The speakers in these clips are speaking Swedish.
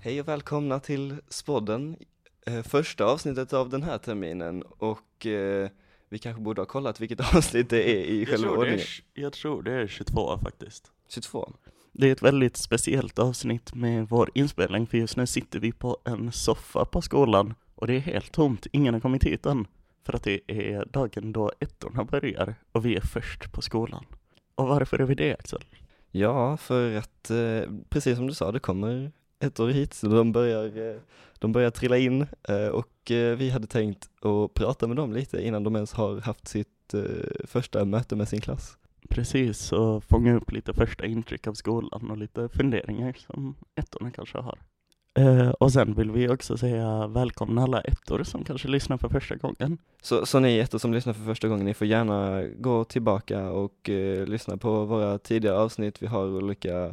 Hej och välkomna till Spodden, eh, första avsnittet av den här terminen och eh, vi kanske borde ha kollat vilket avsnitt det är i Jag själva tror, det ordningen. är, jag tror det är 22 faktiskt. 22. Det är ett väldigt speciellt avsnitt med vår inspelning för just nu sitter vi på en soffa på skolan och det är helt tomt, ingen har kommit hit än. För att det är dagen då ettorna börjar och vi är först på skolan. Och varför är vi det Axel? Ja, för att eh, precis som du sa, det kommer ett år hit, så de börjar, eh, de börjar trilla in eh, och eh, vi hade tänkt att prata med dem lite innan de ens har haft sitt eh, första möte med sin klass. Precis, så fånga upp lite första intryck av skolan och lite funderingar som ettorna kanske har. Eh, och sen vill vi också säga välkomna alla ettor som kanske lyssnar för första gången. Så, så ni ettor som lyssnar för första gången, ni får gärna gå tillbaka och eh, lyssna på våra tidigare avsnitt. Vi har olika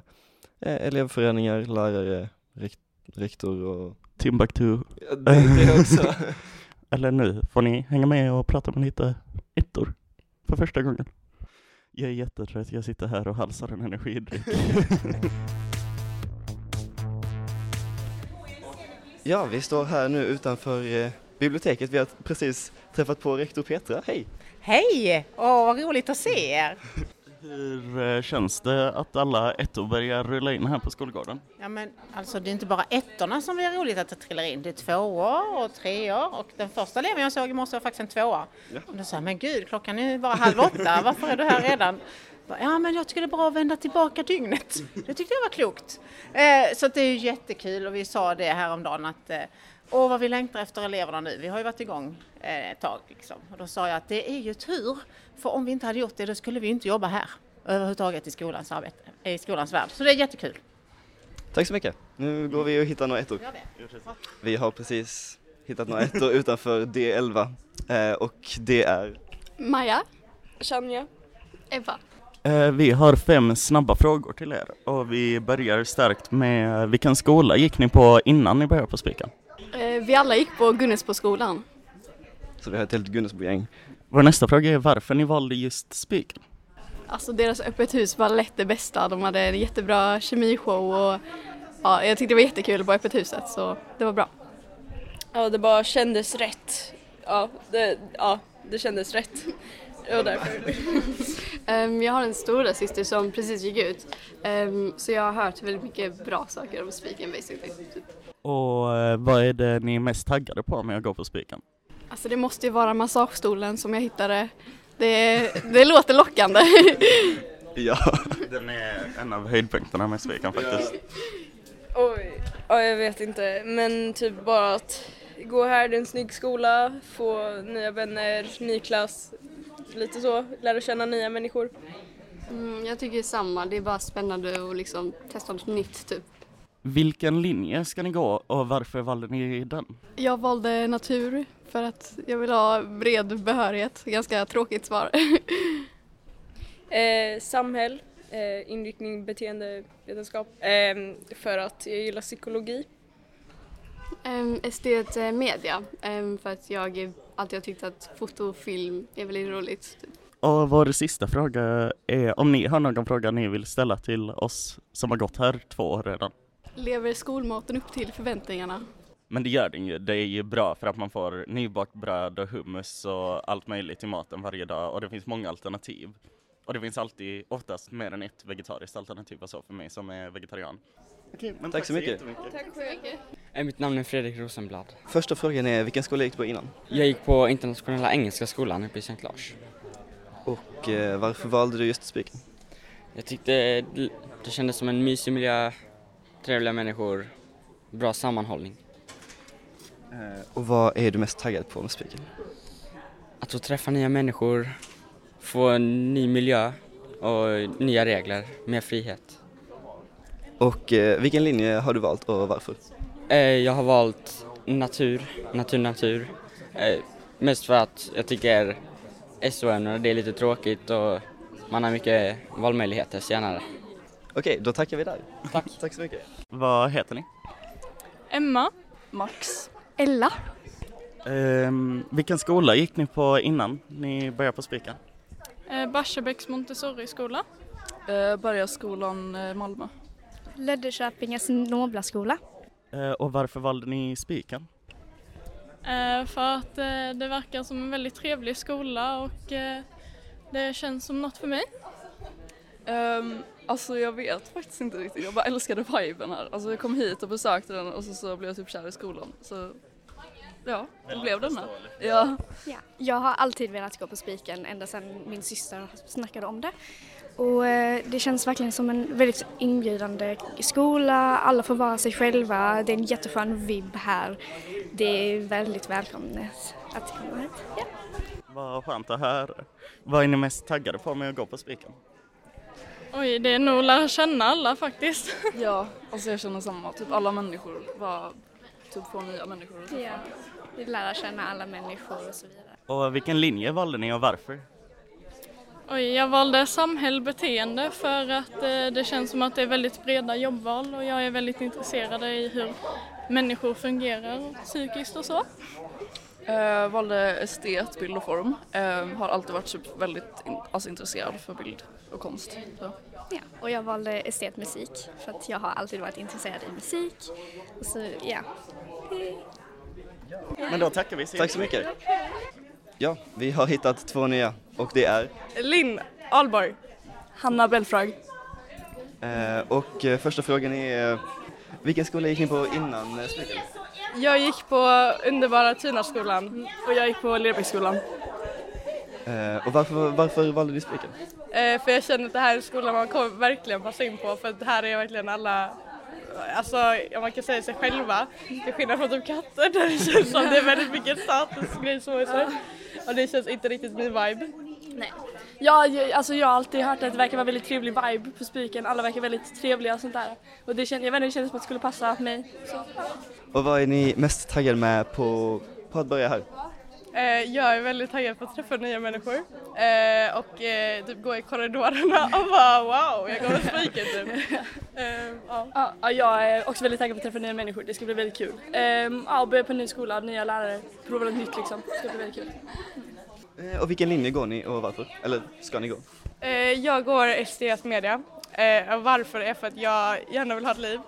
eh, elevföreningar, lärare, rikt, rektor och... Timbuktu Ja, det, det också. Eller nu får ni hänga med och prata med lite ettor för första gången. Jag är jättetrött, jag sitter här och halsar en energidryck. ja, vi står här nu utanför eh, biblioteket. Vi har precis träffat på rektor Petra. Hej! Hej! Åh, vad roligt att se er! Hur eh, känns det att alla ettor börjar rulla in här på skolgården? Ja, men, alltså, det är inte bara ettorna som är roligt att det trillar in. Det är tvåor och treor och den första eleven jag såg i morse var faktiskt en tvåa. Och då sa jag, men gud, klockan är ju bara halv åtta, varför är du här redan? Bara, Ja, men jag tycker det är bra att vända tillbaka dygnet. Det tyckte jag var klokt. Eh, så att det är ju jättekul och vi sa det häromdagen att eh, Åh, vad vi längtar efter eleverna nu. Vi har ju varit igång eh, ett tag. Liksom. Och då sa jag att det är ju tur, för om vi inte hade gjort det då skulle vi ju inte jobba här överhuvudtaget i skolans, arbete, i skolans värld. Så det är jättekul. Tack så mycket. Nu går vi och hittar några ettor. Gör det. Vi har precis hittat några ettor utanför D11 eh, och det är... Maja, Shania, Ebba. Eh, vi har fem snabba frågor till er och vi börjar starkt med eh, vilken skola gick ni på innan ni började på Spikan? Eh, vi alla gick på Gunnesboskolan. Så vi har ett helt Gunnesbo-gäng. Vår nästa fråga är varför ni valde just Spikan? Alltså deras öppet hus var lätt det bästa. De hade en jättebra kemishow och ja, jag tyckte det var jättekul på öppet huset så det var bra. Ja, det bara kändes rätt. Ja, det, ja, det kändes rätt. Det var därför. Ehm, jag har en stora syster som precis gick ut Ehm, så jag har hört väldigt mycket bra saker om Spiken basically. Och eh, vad är det ni är mest taggade på med att gå på Spikan? Alltså det måste ju vara massagestolen som jag hittade. Det, det låter lockande. Ja. Den är en av höjdpunkterna med Spikan faktiskt. Oj, ja, jag vet inte. Men typ bara att gå här, det är en snygg skola, få nya vänner, ny klass, lite så. Lära känna nya människor. Mm, jag tycker samma, det är bara spännande och liksom testa något nytt typ. Vilken linje ska ni gå och varför valde ni den? Jag valde natur för att jag vill ha bred behörighet. Ganska tråkigt svar. Eh, samhäll, eh, inriktning beteendevetenskap. Eh, för att jag gillar psykologi. um, estet eh, media ehm, för att jag alltid har tyckt att foto och film är väldigt roligt. Typ. Och vår sista fråga är om ni har någon fråga ni vill ställa till oss som har gått här två år redan. Lever skolmaten upp till förväntningarna? Men det gör den ju. Det är ju bra för att man får nybakt bröd och hummus och allt möjligt i maten varje dag och det finns många alternativ. Och det finns alltid oftast mer än ett vegetariskt alternativ och så för mig som är vegetarian. Okej, men Tack så mycket. Tack så mycket. Eh, Mitt namn är Fredrik Rosenblad. Första frågan är vilken skola gick du på innan? Jag gick på Internationella Engelska Skolan uppe i Sankt Lars. Och eh, varför valde du just Spiken? Jag tyckte det- det kändes som en mysig miljö, trevliga människor, bra sammanhållning. Och vad är du mest taggad på med Spiken? Att få träffa nya människor, få en ny miljö och nya regler, mer frihet. Och eh, vilken linje har du valt och varför? Eh, Jag har valt natur, natur, natur. Eh, Mest för att jag tycker SO-ämnena det är lite tråkigt och man har mycket valmöjligheter senare. Okej, då tackar vi där. Tack. Tack så mycket. Vad heter ni? Emma. Max. Ella. Ehm, vilken skola gick ni på innan ni började på Spika? Eh, Barsebäcks Montessori-skola. Eh, Bergaskolan eh, Malmö. Löddeköpinges nobla skola. Eh, och varför valde ni Spiken? Eh, för att eh, det verkar som en väldigt trevlig skola och eh, det känns som något för mig. Um, alltså jag vet faktiskt inte riktigt, jag bara älskade viben här. Alltså jag kom hit och besökte den och så, så blev jag typ kär i skolan. Så ja, det blev den här. Ja. Ja. Jag har alltid velat gå på Spiken ända sedan min syster snackade om det. Och eh, det känns verkligen som en väldigt inbjudande skola, alla får vara sig själva, det är en jätteskön vibb här. Det är väldigt välkommet att komma hit. Ja. Vad skönt att höra. Vad är ni mest taggade på med att gå på Spiken? Oj, det är nog lära känna alla faktiskt. ja, alltså jag känner samma. Typ alla människor, bara typ få nya människor. och så. Ja. Vi lär känna alla människor och så vidare. Och vilken linje valde ni och varför? Oj, jag valde samhällsbeteende för att eh, det känns som att det är väldigt breda jobbval och jag är väldigt intresserad i hur människor fungerar psykiskt och så. Eh, valde estet, bild och form. Eh, har alltid varit typ väldigt in- alltså, intresserad för bild och konst. Så. Ja. Och jag valde estetmusik för att jag har alltid varit intresserad i musik. Och så, ja. Men då tackar vi så Tack så mycket! Ja, vi har hittat två nya och det är Linn Ahlborg. Hanna Belfrage. Eh, och eh, första frågan är, eh, vilken skola gick ni på innan eh, Spiken? Jag gick på underbara Tunaskolan och jag gick på Lerbäcksskolan. Eh, och varför, varför valde ni Spiken? Eh, för jag känner att det här är en skola man kommer verkligen passa in på för att här är verkligen alla, alltså om man kan säga sig själva, till skillnad från typ katter där det känns som det är väldigt mycket statusgrej som är så. Och det känns inte riktigt min vibe. Ja, jag, alltså jag har alltid hört att det verkar vara väldigt trevlig vibe på Spiken. Alla verkar väldigt trevliga och sånt där. Och det kände, jag vet inte, det kändes som att det skulle passa mig. Och vad är ni mest taggade med på, på att börja här? Eh, jag är väldigt taggad på att träffa nya människor eh, och eh, typ gå i korridorerna och bara wow, jag kommer spiken typ. Eh, ja. Ja, ja, jag är också väldigt taggad på att träffa nya människor. Det ska bli väldigt kul. typ. Ehm, ja, och börja på en ny skola, nya lärare, prova något nytt liksom. Det ska bli väldigt kul. Eh, och vilken linje går ni och varför? Eller ska ni gå? Eh, Jag går STS media. Eh, och Varför är för att jag gärna vill ha ett liv.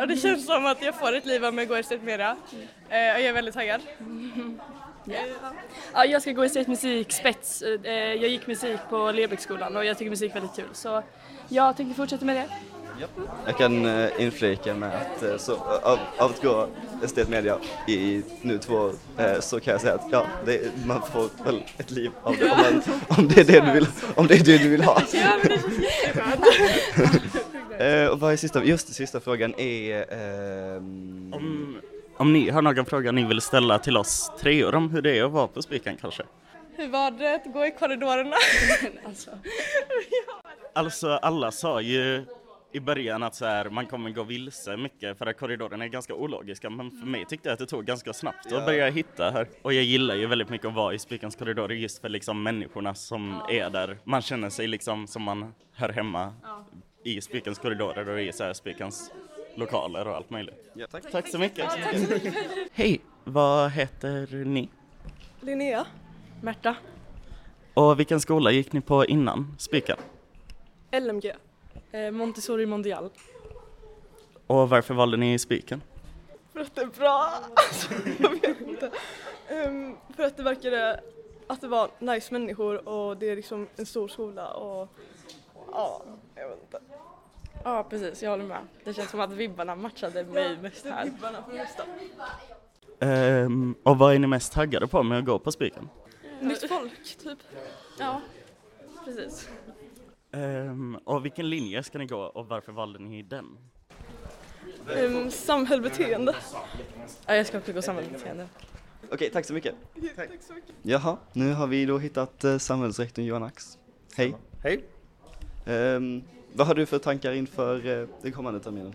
Och det känns som att jag får ett liv om jag går STS media. Eh, Och jag är väldigt taggad. Eh, Ja, jag ska gå estet musik, spets. Eh, jag gick musik på Lerbäcksskolan och jag tycker musik är väldigt kul. Så jag tänker fortsätta med det. Jag kan eh, inflika med att eh, så, av, av att gå estetmedia i nu två år eh, så kan jag säga att ja, det, man får väl ett liv av det om, man, om det är det du vill, om det är det du vill ha. Eh, och vad är sista, just sista frågan är ehm, Om, om ni har någon fråga ni vill ställa till oss treor om hur det är att vara på Spiken kanske? Hur var det att gå i korridorerna? Alltså alla sa ju i början att så här, man kommer gå vilse mycket för att korridorerna är ganska ologiska men för mig tyckte jag att det tog ganska snabbt att Ja. börja hitta här. Och jag gillar ju väldigt mycket att vara i Spikens korridorer just för liksom människorna som är där. Man känner sig liksom som man hör hemma i Spikens korridorer och i så här Spikens lokaler och allt möjligt. ja, tack. Tack så mycket! Hej! Vad heter ni? Linnea. Märta. Och vilken skola gick ni på innan Spiken? LMG. Eh, Montessori Mondial. Och varför valde ni Spiken? För att det är bra. Alltså, jag vet inte. Ehm, för att det verkade att det var nice människor och det är liksom en stor skola och ja, jag vet inte. Ja precis, jag håller med. Det känns som att vibbarna matchade mig mest här. Vibbarna för det mesta. Ehm, och vad är ni mest taggade på med att gå på Spiken? Nytt folk, typ. Ja, precis. Ehm, och vilken linje ska ni gå och varför valde ni den? Um, samhällsbeteende. Ja, jag ska också gå samhällsbeteende. Okej, tack så mycket. Tack. Jaha, nu har vi då hittat eh, samhällsrektorn Johan Ax. Hej. Hej. Ehm, vad har du för tankar inför eh, den kommande terminen?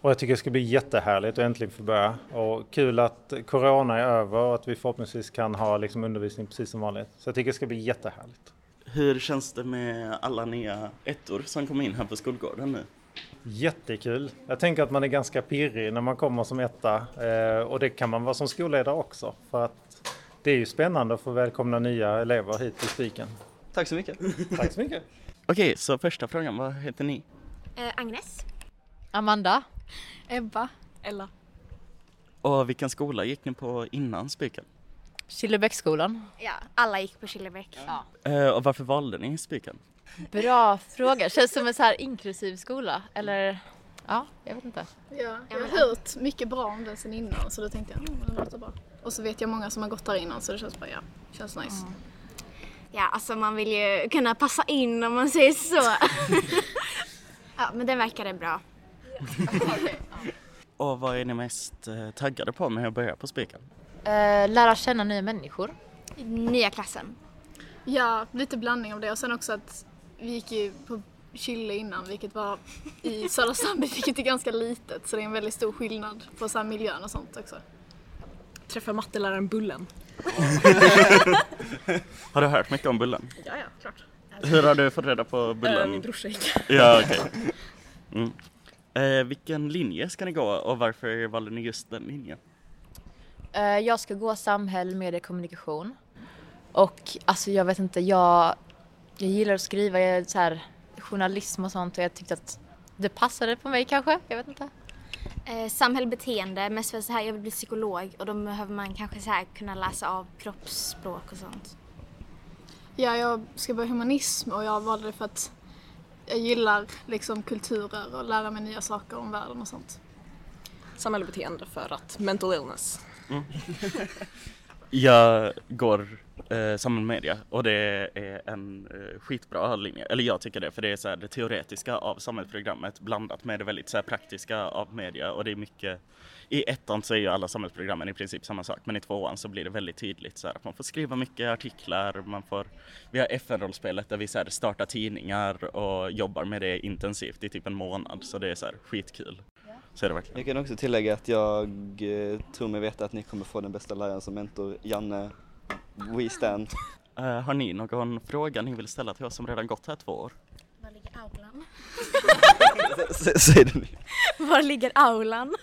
Och jag tycker det ska bli jättehärligt att äntligen få börja. Och kul att corona är över och att vi förhoppningsvis kan ha liksom undervisning precis som vanligt. Så jag tycker det ska bli jättehärligt. Hur känns det med alla nya ettor som kom in här på skolgården nu? Jättekul! Jag tänker att man är ganska pirrig när man kommer som etta. Eh, och det kan man vara som skolledare också. För att det är ju spännande att få välkomna nya elever hit till Spiken. Tack så mycket. Tack så mycket! Okej, så första frågan, vad heter ni? Agnes? Amanda? Ebba. Ella. Och vilken skola gick ni på innan Spiken? Killebäcksskolan. Ja, alla gick på Killebäck. Eh, och varför valde ni Spiken? Bra fråga. Känns som en så här inklusiv skola eller ja, jag vet inte. Ja, jag har hört mycket bra om den sen innan så då tänkte jag, mm, det låter bra. Och så vet jag många som har gått där innan så det känns bara, ja, känns nice. Ja, alltså man vill ju kunna passa in om man säger så. ja, men den verkade bra. Och vad är ni mest eh, taggade på med att börja på Spiken? Eh, lära känna nya människor. Nya klassen. Ja, lite blandning av det och sen också att vi gick ju på Chile innan vilket var i södra Zambia vilket är ganska litet så det är en väldigt stor skillnad på så här miljön och sånt också. Träffa matteläraren Bullen. Har du hört mycket om Bullen? Ja, ja, klart. Hur har du fått reda på Eh, Bullen? min brorsa gick. Ja, okej. Mm. Eh, vilken linje ska ni gå och varför valde ni just den linjen? Eh, jag ska gå samhäll, media, kommunikation. Och alltså jag vet inte, jag, jag gillar att skriva, jag är så här, journalism och sånt och jag tyckte att det passade på mig kanske, jag vet inte. Eh, samhällsbeteende, mest för så här, jag vill bli psykolog och då behöver man kanske så här kunna läsa av kroppsspråk och sånt. Ja, jag ska börja humanism och jag valde det för att jag gillar liksom kulturer och lära mig nya saker om världen och sånt. Samhällsbeteende för att mental illness. Jag går eh, samman media och det är en eh, skitbra linje. Eller jag tycker det för det är så här, det teoretiska av samhällsprogrammet blandat med det väldigt så här, praktiska av media och det är mycket i ettan så är ju alla samhällsprogrammen i princip samma sak men i tvåan så blir det väldigt tydligt så här, att man får skriva mycket artiklar, man får, vi har FN-rollspelet där vi så här, startar tidningar och jobbar med det intensivt i typ en månad så det är så här, skitkul. Så är det verkligen. Jag kan också tillägga att jag eh, tror mig veta att ni kommer få den bästa läraren som mentor, Janne We Stand. Eh, har ni någon fråga ni vill ställa till oss som redan gått här två år? Var ligger aulan? S- Säg det nu. Var ligger aulan?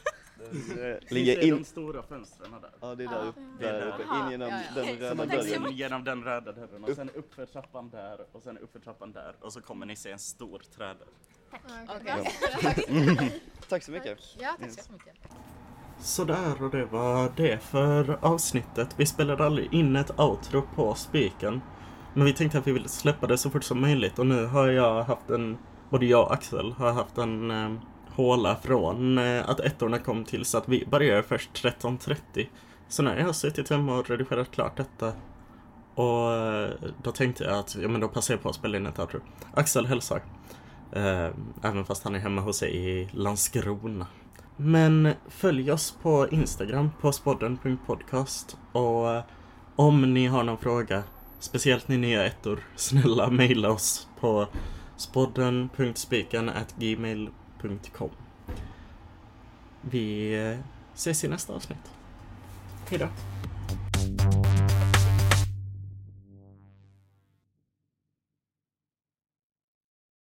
Ligger in... stora fönstren där. Ja, det är där uppe. Det är Där där. uppe. In genom Ja, ja. den Så röda man går in dörren. genom den röda dörren och Upp. sen uppför trappan där och sen uppför trappan där och så kommer ni se en stor trädörr. Okej. Tack så mycket. Ja, tack så mycket. Sådär och det var det för avsnittet. Vi spelade aldrig in ett outro på spiken. Men vi tänkte att vi ville släppa det så fort som möjligt och nu har jag haft en, både jag och Axel har haft en eh, håla från eh, att ettorna kom till så att vi började först 13.30. Så när jag har suttit hemma och redigerat klart detta och eh, då tänkte jag att ja, men då passar jag på att spela in ett outro. Axel hälsar. Eh, även fast han är hemma hos sig i Landskrona. Men följ oss på Instagram på spodden.podcast och eh, om ni har någon fråga, speciellt ni nya ettor, snälla mejla oss på spodden.spikan.gmail.com Vi eh, ses i nästa avsnitt. Hejdå!